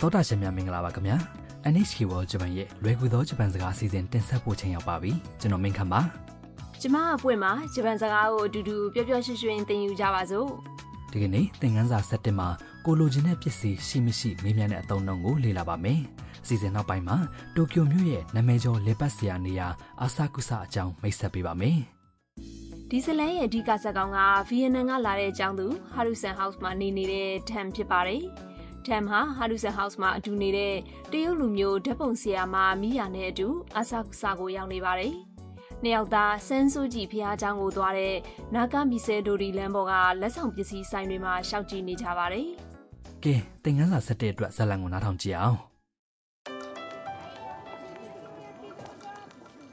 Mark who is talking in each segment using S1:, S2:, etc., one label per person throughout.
S1: သောတာရှင်များမင်္ဂလာပါခင်ဗျာ NHK World Japan ရဲ့လွယ်ကူသောဂျပန်စကားအစီအစဉ်တင်ဆက်ဖို့ချိန်ရောက်ပါပြီကျွန်တော်မင်းခမ်းပါ
S2: ကျမအပွင့်မှာဂျပန်စကားကိုအတူတူပျော်ပျော်ရွှင်ရွှင်သင်ယူကြပါစို့
S1: ဒီကနေ့သင်ခန်းစာ7မှာကိုလိုချင်တဲ့ပစ္စည်းရှိမရှိမေးမြန်းတဲ့အသုံးအနှုန်းကိုလေ့လာပါမယ်အစီအစဉ်နောက်ပိုင်းမှာတိုကျိုမြို့ရဲ့နာမည်ကျော်လေပတ်စရာနေရာအာဆာကုဆာအကြောင်းမိတ်ဆက်ပေးပါမယ်
S2: ဒီဇလန်ရဲ့အဓိကဇာတ်ကောင်ကဗီယက်နမ်ကလာတဲ့အကြောင်းသူဟာရူဆန်ဟောက်စ်မှာနေနေတဲ့ထမ်ဖြစ်ပါတယ်ထမ်ဟာဟာရူဆန်ဟောက်စ်မှာအတူနေတဲ့တရုတ်လူမျိုးဓာတ်ပုံဆရာမမိယာနဲ့အတူအာဆာကုဆာကိုရောက်နေပါတယ်နှစ်ယောက်သားဆန်းစုကြည်ဖះเจ้าကိုသွားတဲ့နာဂမီဆဲဒိုရီလမ်းပေါ်ကလက်ဆောင်ပစ္စည်းဆိုင်တွေမှာရှောက်ကြည့်နေကြပါတယ်
S1: ကဲသင်ခန်းစာ7အတွက်ဇာတ်လမ်းကိုနားထောင်ကြည့်အောင်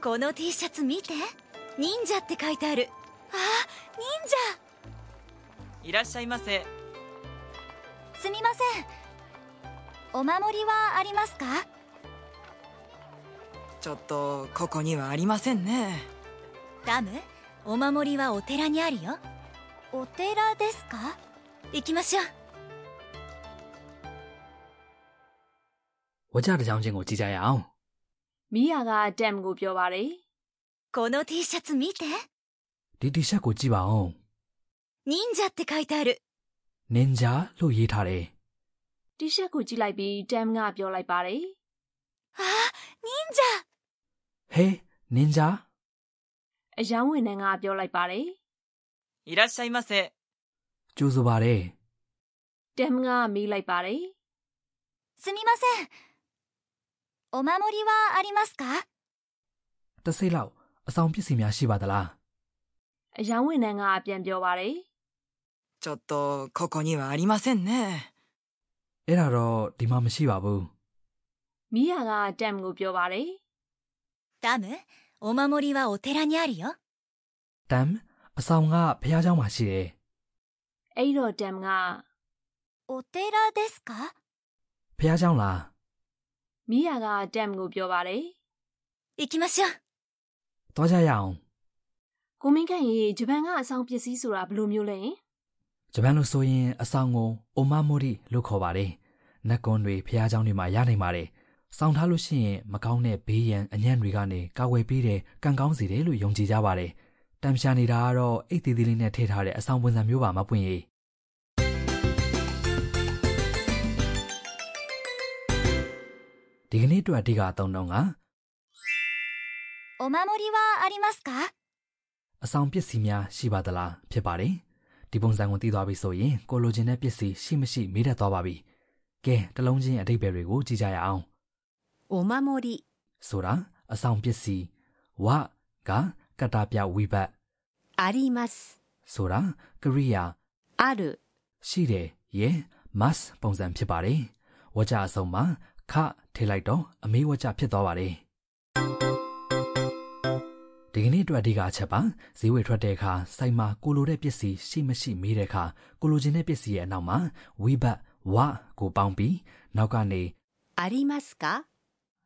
S3: この T シャツ見て忍者って書いてあるああ忍者
S4: いらっしゃいませ
S3: すみませんお守りはありますか
S4: ちょっとここにはありませんね
S3: ダムお守りはお寺にあるよお寺ですか行きましょう
S1: ဝါကြတစ်ကြောင်းချင်းကိုကြည့်ကြရအောင်
S2: မိယာကတမ်ကိုပြောပါတယ်
S3: この T シャツ見て
S1: ဒီတီရှပ်ကိုကြည့်ပါအောင်
S3: 忍者って書いてある
S1: Ninja လို့ရေးထားတယ်
S2: တီရှပ်ကိုကြည့်လိုက်ပြီးတမ်ကပြောလိုက်ပါတယ်
S3: ああ忍
S1: ဟေး Ninja
S2: အယောင်းဝင်နှန်းကပြောလိုက်ပါတယ်
S4: いらっしゃいませ
S1: ကြိုးစားပါတယ်
S2: ။တမ်ကမေးလိုက်ပါတယ်
S3: 者すみませんお守りはありますか
S1: တစ်စိတ်လောက်အဆောင်ပစ္စည်းများရှိပါသလား
S2: ။အယောင်းဝင်နှန်းကပြန်ပြောပါတယ်
S4: ちょっとここにはありませんね
S1: အဲ့ဒါတော့ဒီမှာမရှိပါဘူး
S2: ။မိယာကတမ်ကိုပြောပါတယ်
S3: ダムお守りはお寺にあるよ
S1: တမ်အဆောင်ကဘုရားကျောင်းမှာရှိတယ်
S2: ။အဲ့တော့တမ်က
S3: お寺ですか
S1: ဘုရားကျောင်းလား
S2: မိယာကတမ်ကိုပြောပါတယ်
S3: 行きましょう
S1: သွားကြရအောင်
S2: ။ကိုမင်းခန့်ရေဂျပန်ကအဆောင်ပစ္စည်းဆိုတာဘယ်လိုမျိုးလဲ
S1: ဂျပန်လိုဆိုရင်အဆောင်ကိုအိုမာမိုရီလို့ခေါ်ပါတယ်နက်ကွန်တွေဘုရားကျောင်းတွေမှာရနိုင်ပါတယ်စောင့်ထားလို့ရှိရင်မကောင်းတဲ့ဘေးရန်အညံ့တွေကနေကာဝယ်ပေးတယ်ကံကောင်းစေတယ်လို့ယုံကြည်ကြပါတယ်တမ်ရှာနေတာကတော့အိတ်သေးသေးလေးနဲ့ထည့်ထားတဲ့အဆောင်ပုံစံမျိုးပါမပွင့်ရေးဒီကနေ့အတွက်အဓိကအသုံးတော့က
S3: お守りはありますか
S1: အဆောင်ပစ္စည်းများရှိပါသလားဖြစ်ပါတယ်ဒီပုံစံကိုသိသွားပြီဆိုရင်ကိုလိုချင်တဲ့ပစ္စည်းရှိမရှိမေးတတ်သွားပါပြီကဲတစ်လုံးချင်းအတိတ်ပဲတွေကိုကြည့်ကြရအောင်
S3: お守り
S1: ဆိုတာအဆောင်ပစ္စည်းဝကကတ္တာပြဝိဘတ်
S3: あります
S1: ဆိုတာကရိယာ
S3: ある
S1: ရှိတယ်ယေ must ပုံစံဖြစ်ပါတယ်ဝကြအဆုံးမှာခထည့်လိုက်တော့အမေးဝကြဖြစ်သွားပါတယ်ဒီကနေ့အတွက်အဓိကအချက်ပါဈေးဝယ်ထွက်တဲ့အခါစိုက်မှာကိုလိုတဲ့ပစ္စည်းရှိမရှိမေးတဲ့အခါကိုလိုချင်တဲ့ပစ္စည်းရဲ့အနောက်မှာဝိဘတ်ဝကိုပေါင်းပြီးနောက်ကနေ
S3: ありますか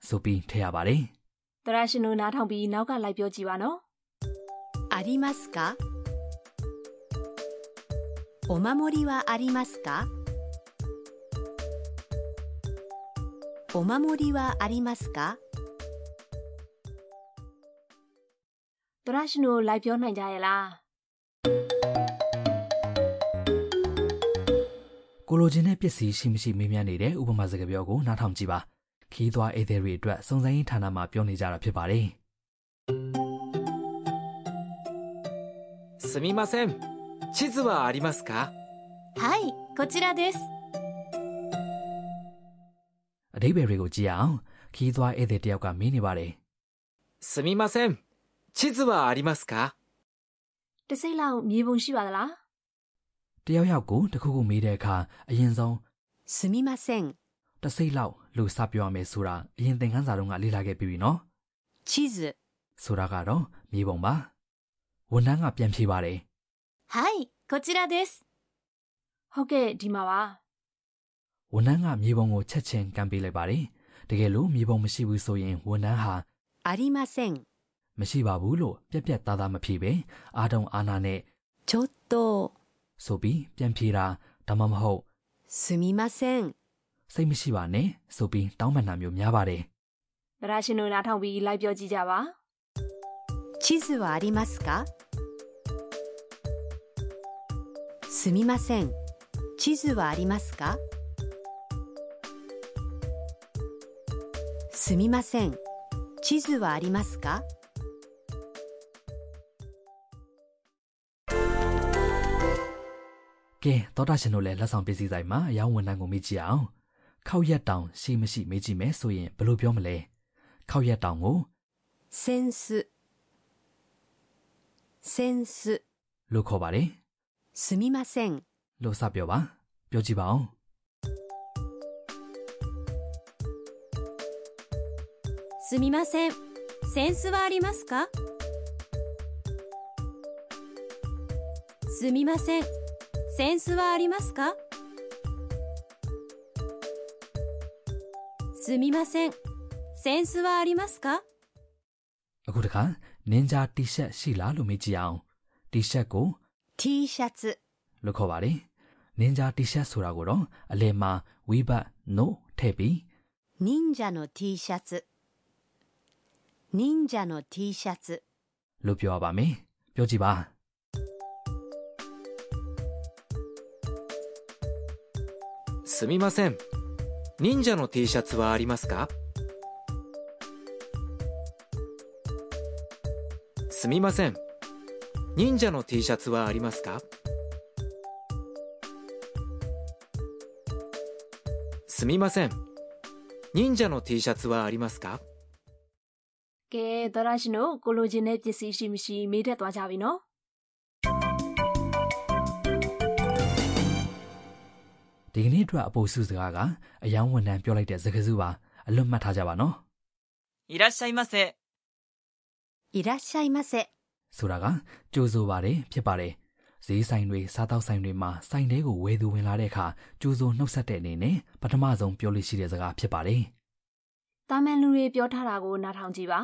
S1: ဆိုပြီးထည့်ရပါတယ်
S2: ။တရာရှင်တို့နားထောင်ပြီးနောက်ကလိုက်ပြောကြည့်ပါနော်
S3: ありますかお守りはありますかお守りはありますか
S2: ။တရာရှင်တို့လိုက်ပြောနိုင်ကြရဲ့လား
S1: ကိုလိုချင်တဲ့ပစ္စည်းရှိမရှိမေးမြန်းနေတဲ့ဥပမာစကားပြောကိုနားထောင်ကြည့်ပါခီးသွားဧည့်သည်တွေအတွက်စုံစမ်းရေးဌာနမှာပြောနေကြတာဖြစ်ပါတယ်
S5: すみません地図はありますか
S3: はいこちらです
S1: အတိပ္ပယ်တွေကိုကြည့်ရအောင်ခီးသွားဧည့်သည်တစ်ယောက်ကမေးနေပါတယ်
S5: すみません地図はありますか
S2: ။တစ်စိတ်လောက်မြေပုံရှိပါသလား
S1: တယောက်ယောက်ကိုတစ်ခုခုမေးတဲ့အခါအရင်ဆုံး
S3: すみません
S1: တစ်စိတ်လောက်လို့စပြောရမယ်ဆိုတာအရင်သင်ခန်းစာတုန်းကလေ့လာခဲ့ပြီပြီနော်
S3: 地図
S1: ဆိုတာကတော့မြေပုံပါဝန်ထမ်းကပြန်ဖြေပါတယ်
S3: はいこちらです
S2: ။ဟုတ်ကဲ့ဒီမှာပါ
S1: ဝန်ထမ်းကမြေပုံကိုချက်ချင်းကမ်းပေးလိုက်ပါတယ်တကယ်လို့မြေပုံမရှိဘူးဆိုရင်ဝန်ထမ်းဟာ
S3: ありません
S1: မရှိပါဘူးလို့ပြက်ပြက်သားသားမဖြေပဲအာတုံအာနာနဲ့
S3: ちょっと
S1: ဆိုပြီးပြန်ဖြေတာဒါမှမဟုတ်
S3: すみません
S1: စိတ်မရှိပါနဲ့ဆိုပြီးတောင်းပန်တာမျိုးများပါတယ်
S2: ဗရာရှင်တို့နားထောင်ပြီးလိုက်ပြောကြည့်ကြပါ
S6: 地図はありますかすみません地図はありますかすみません地図はありますか
S1: ။ကဲသောတာရှင်တို့လည်းလက်ဆောင်ပစ္စည်းဆိုင်မှာအယောင်းဝန်ထမ်းကိုမေ့ကြည့်အောင်။ခောက်ရက်တောင်ရှိမရှိမေ့ကြည့်မယ်ဆိုရင်ဘယ်လိုပြောမလဲ။ခောက်ရက်တောင်ကို
S6: センスセンス
S1: လို့ခေါ်ပါတယ်
S6: すみません
S1: ။လို့စပြောပါ။ပြောကြည့်ပါဦး
S3: すみませんセンスはありますかすみませんセンスはありますかすみませんセンスはありますか
S1: ။အခုတခါနင်ဂျာတီရှပ်ရှိလားလို့မေ့ကြည့်အောင်။တီရှပ်ကို
S6: T シャツ
S1: လို့ခေါ်ပါတယ်။နင်ဂျာတီရှပ်ဆိုတာကိုတော့အလယ်မှာဝိဘတ် no ထည့်ပြီး
S6: 忍者の T シャツ忍者の T シャツ
S1: လို့ပြောရပါမယ်။ပြောကြည့်ပါ
S5: すみません忍者の T シャツはありますかすみません忍者の T シャツはありますかすみません忍者の T シャツはありますか
S2: ကဲသောရရှင်တို့ကိုလိုချင်တဲ့ပစ္စည်းရှိမရှိမေးတတ်သွားကြပြီနော်
S1: ။ဒီကနေ့အတွက်အပိုစုစကားကအယောင်းဝန်ထမ်းပြောလိုက်တဲ့စကားစုပါအလွတ်မှတ်ထားကြပါနော်
S4: いらっしゃいませ。
S6: いらっしゃいませ
S1: ။ဆိုတာကကြိုးဆိုပါတယ်ဖြစ်ပါတယ်။ဈေးဆိုင်တွေစားတောက်ဆိုင်တွေမှာဆိုင်တွေကိုဝယ်သူဝင်လာတဲ့အခါကြိုးဆိုနှုတ်ဆက်တဲ့အနေနဲ့ပထမဆုံးပြောလို့ရှိတဲ့စကားဖြစ်ပါတယ်
S2: တာမန်လူတွေပြောထားတာကိုနားထောင်ကြည့်ပါ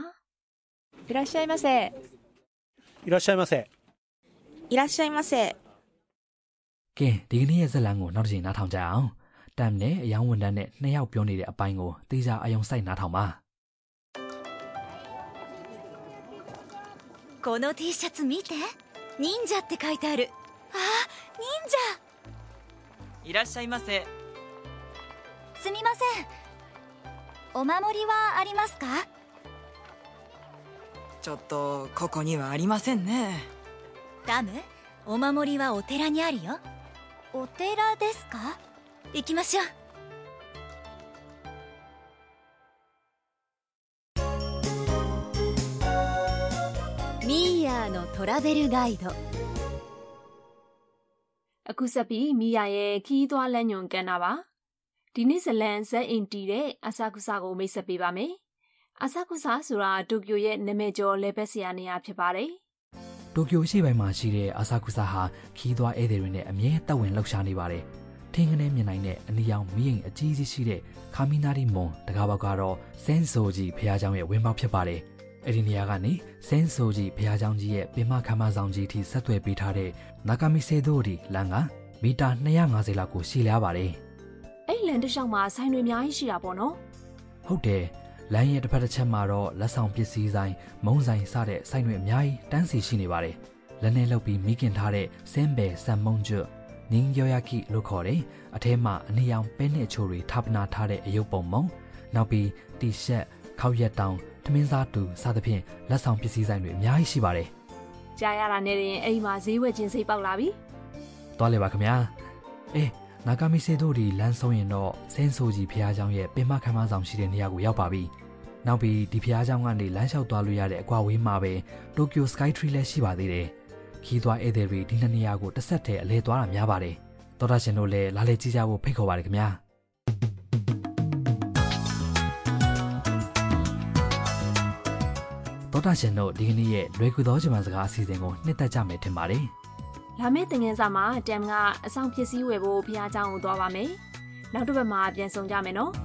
S7: いらっしゃいませ。
S8: いらっしゃいませ。
S7: いらっしゃいま
S1: ။
S7: せ。
S1: ကဲဒီကနေ့ရဲ့ဇက်လန်ကိုနောက်တစ်ချိန်နားထောင်ကြအောင်။တမ်နဲ့အယောင်းဝန်ထမ်းနဲ့နှစ်ယောက်ပြောနေတဲ့အပိုင်းကိုတေးစာအယုံစိုက်နားထောင်ပါ။
S3: この T シャツ見て忍者って書いてあるあー忍者
S4: いらっしゃいませ。
S3: すみませんお守りはありますか
S4: ちょっと、ここにはありませんね。
S3: ダムお守りはお寺にあるよお寺ですか行きましょう「ミーヤーのトラベルガイド」
S2: အခုဆက်ပြီးမိယာရဲ့ခီးသွွားလမ်းညွန်ကန်တာပါဒီနေ့ဇလန်ဇက်အင်တီတဲ့အဆာကုဆာကိုမိတ်ဆက်ပေးပါမယ်အဆာကုဆာဆိုတာတိုကျိုရဲ့နာမည်ကျော်လေပတ်စရာနေရာဖြစ်ပါတယ်
S1: တိုကျိုရှိပိုင်းမှာရှိတဲ့အာဆာကုဆာဟာခီးသွွားဧည့်သည်တွေနဲ့အမြဲတက်ဝင်လှုပ်ရှားနေပါတယ်။ထင်းကနေမြင်နိုင်တဲ့အနီရောင်မီးအိမ်အကြီးကြီးရှိတဲ့ခါမီနာရီမွန်တကားပေါက်ကတော့ဆန်ဆိုကြီးဘုရားကျောင်းရဲ့ဝင်းပေါက်ဖြစ်ပါတယ်။အဲဒီနေရာကနေဆန်ဆိုကြီးဘုရားကျောင်းကြီးရဲ့ပင်မခမ်းမဆောင်ကြီးထိဆက်သွယ်ပေးထားတဲ့နာကာမီဆေဒိုဒီလမ်းကမီတာ250လောက်ကိုရှည်လျားပါတယ်။
S2: အဲ့လန်တစ်လျှောက်မှာဆိုင်တွေအများကြီးရှိတာပေါ့နော်
S1: ဟုတ်တယ်လမ်းရဲ့တစ်ဖက်တစ်ချက်မှာတော့လက်ဆောင်ပစ္စည်းဆိုင်မုံဆိုင်စတဲ့ဆိုင်တွေအများကြီးတန်းစီရှိနေပါတယ်လက်နဲ့လုပ်ပြီးမိခင်ထားတဲ့စင်ဘယ်ဆမ်မုံကျွတ်နင်းယောယကိလို့ခေါ်တယ်အထဲမှာအနီရောင်ပဲနဲ့ချိုတွေထပ်ပနာထားတဲ့အယုတ်ပုံမုံနောက်ပြီးတီရှပ်ခောက်ရက်တောင်ထမင်းစားတူစသဖြင့်လက်ဆောင်ပစ္စည်းဆိုင်တွေအများကြီးရှိပါတယ်
S2: ကြားရတာနဲ့တင်အဲ့ဒီမှာဈေးဝယ်ခြင်းစိတ်ပေါက်လာပြီ
S1: သွားလေပါခင်ဗျာအေးနာဂမီဆေတို့ဒီလမ်းဆုံးရင်တော့စင်းဆိုကြီးဖះเจ้าရဲ့ပင်မခမ်းမဆောင်ရှိတဲ့နေရာကိုရောက်ပါပြီ နောက်ပြီးဒီဖျားเจ้าကနေလမ်းလျှောက်သွားလို့ရတဲ့အကွာဝေးမှာပဲတိုကျို Sky Tree လည်းရှိပါသေးတယ်။ခီးသွားဧည့်သည်တွေဒီနှစ်နေရာကိုတစ်ဆက်တည်းအလဲသွားတာများပါတယ်။သောတာရှင်တို့လည်းလာလေကြည့်ကြဖို့ဖိတ်ခေါ်ပါတယ်ခင်ဗျာ။သောတာရှင်တို့ဒီကနေ့ရဲ့လွယ်ကူသောဂျပန်စကားအစီအစဉ်ကိုနှစ်သက်ကြမယ်ထင်ပါတယ်
S2: လာမယ့်သင်ခန်းစာမှာတမ်ကအဆောင်ပစ္စည်းဝယ်ဖို့ဘုရားကျောင်းကိုသွားပါမယ်။နောက်တစ်ပတ်မှာပြန်ဆောင်ကြမယ်နော်။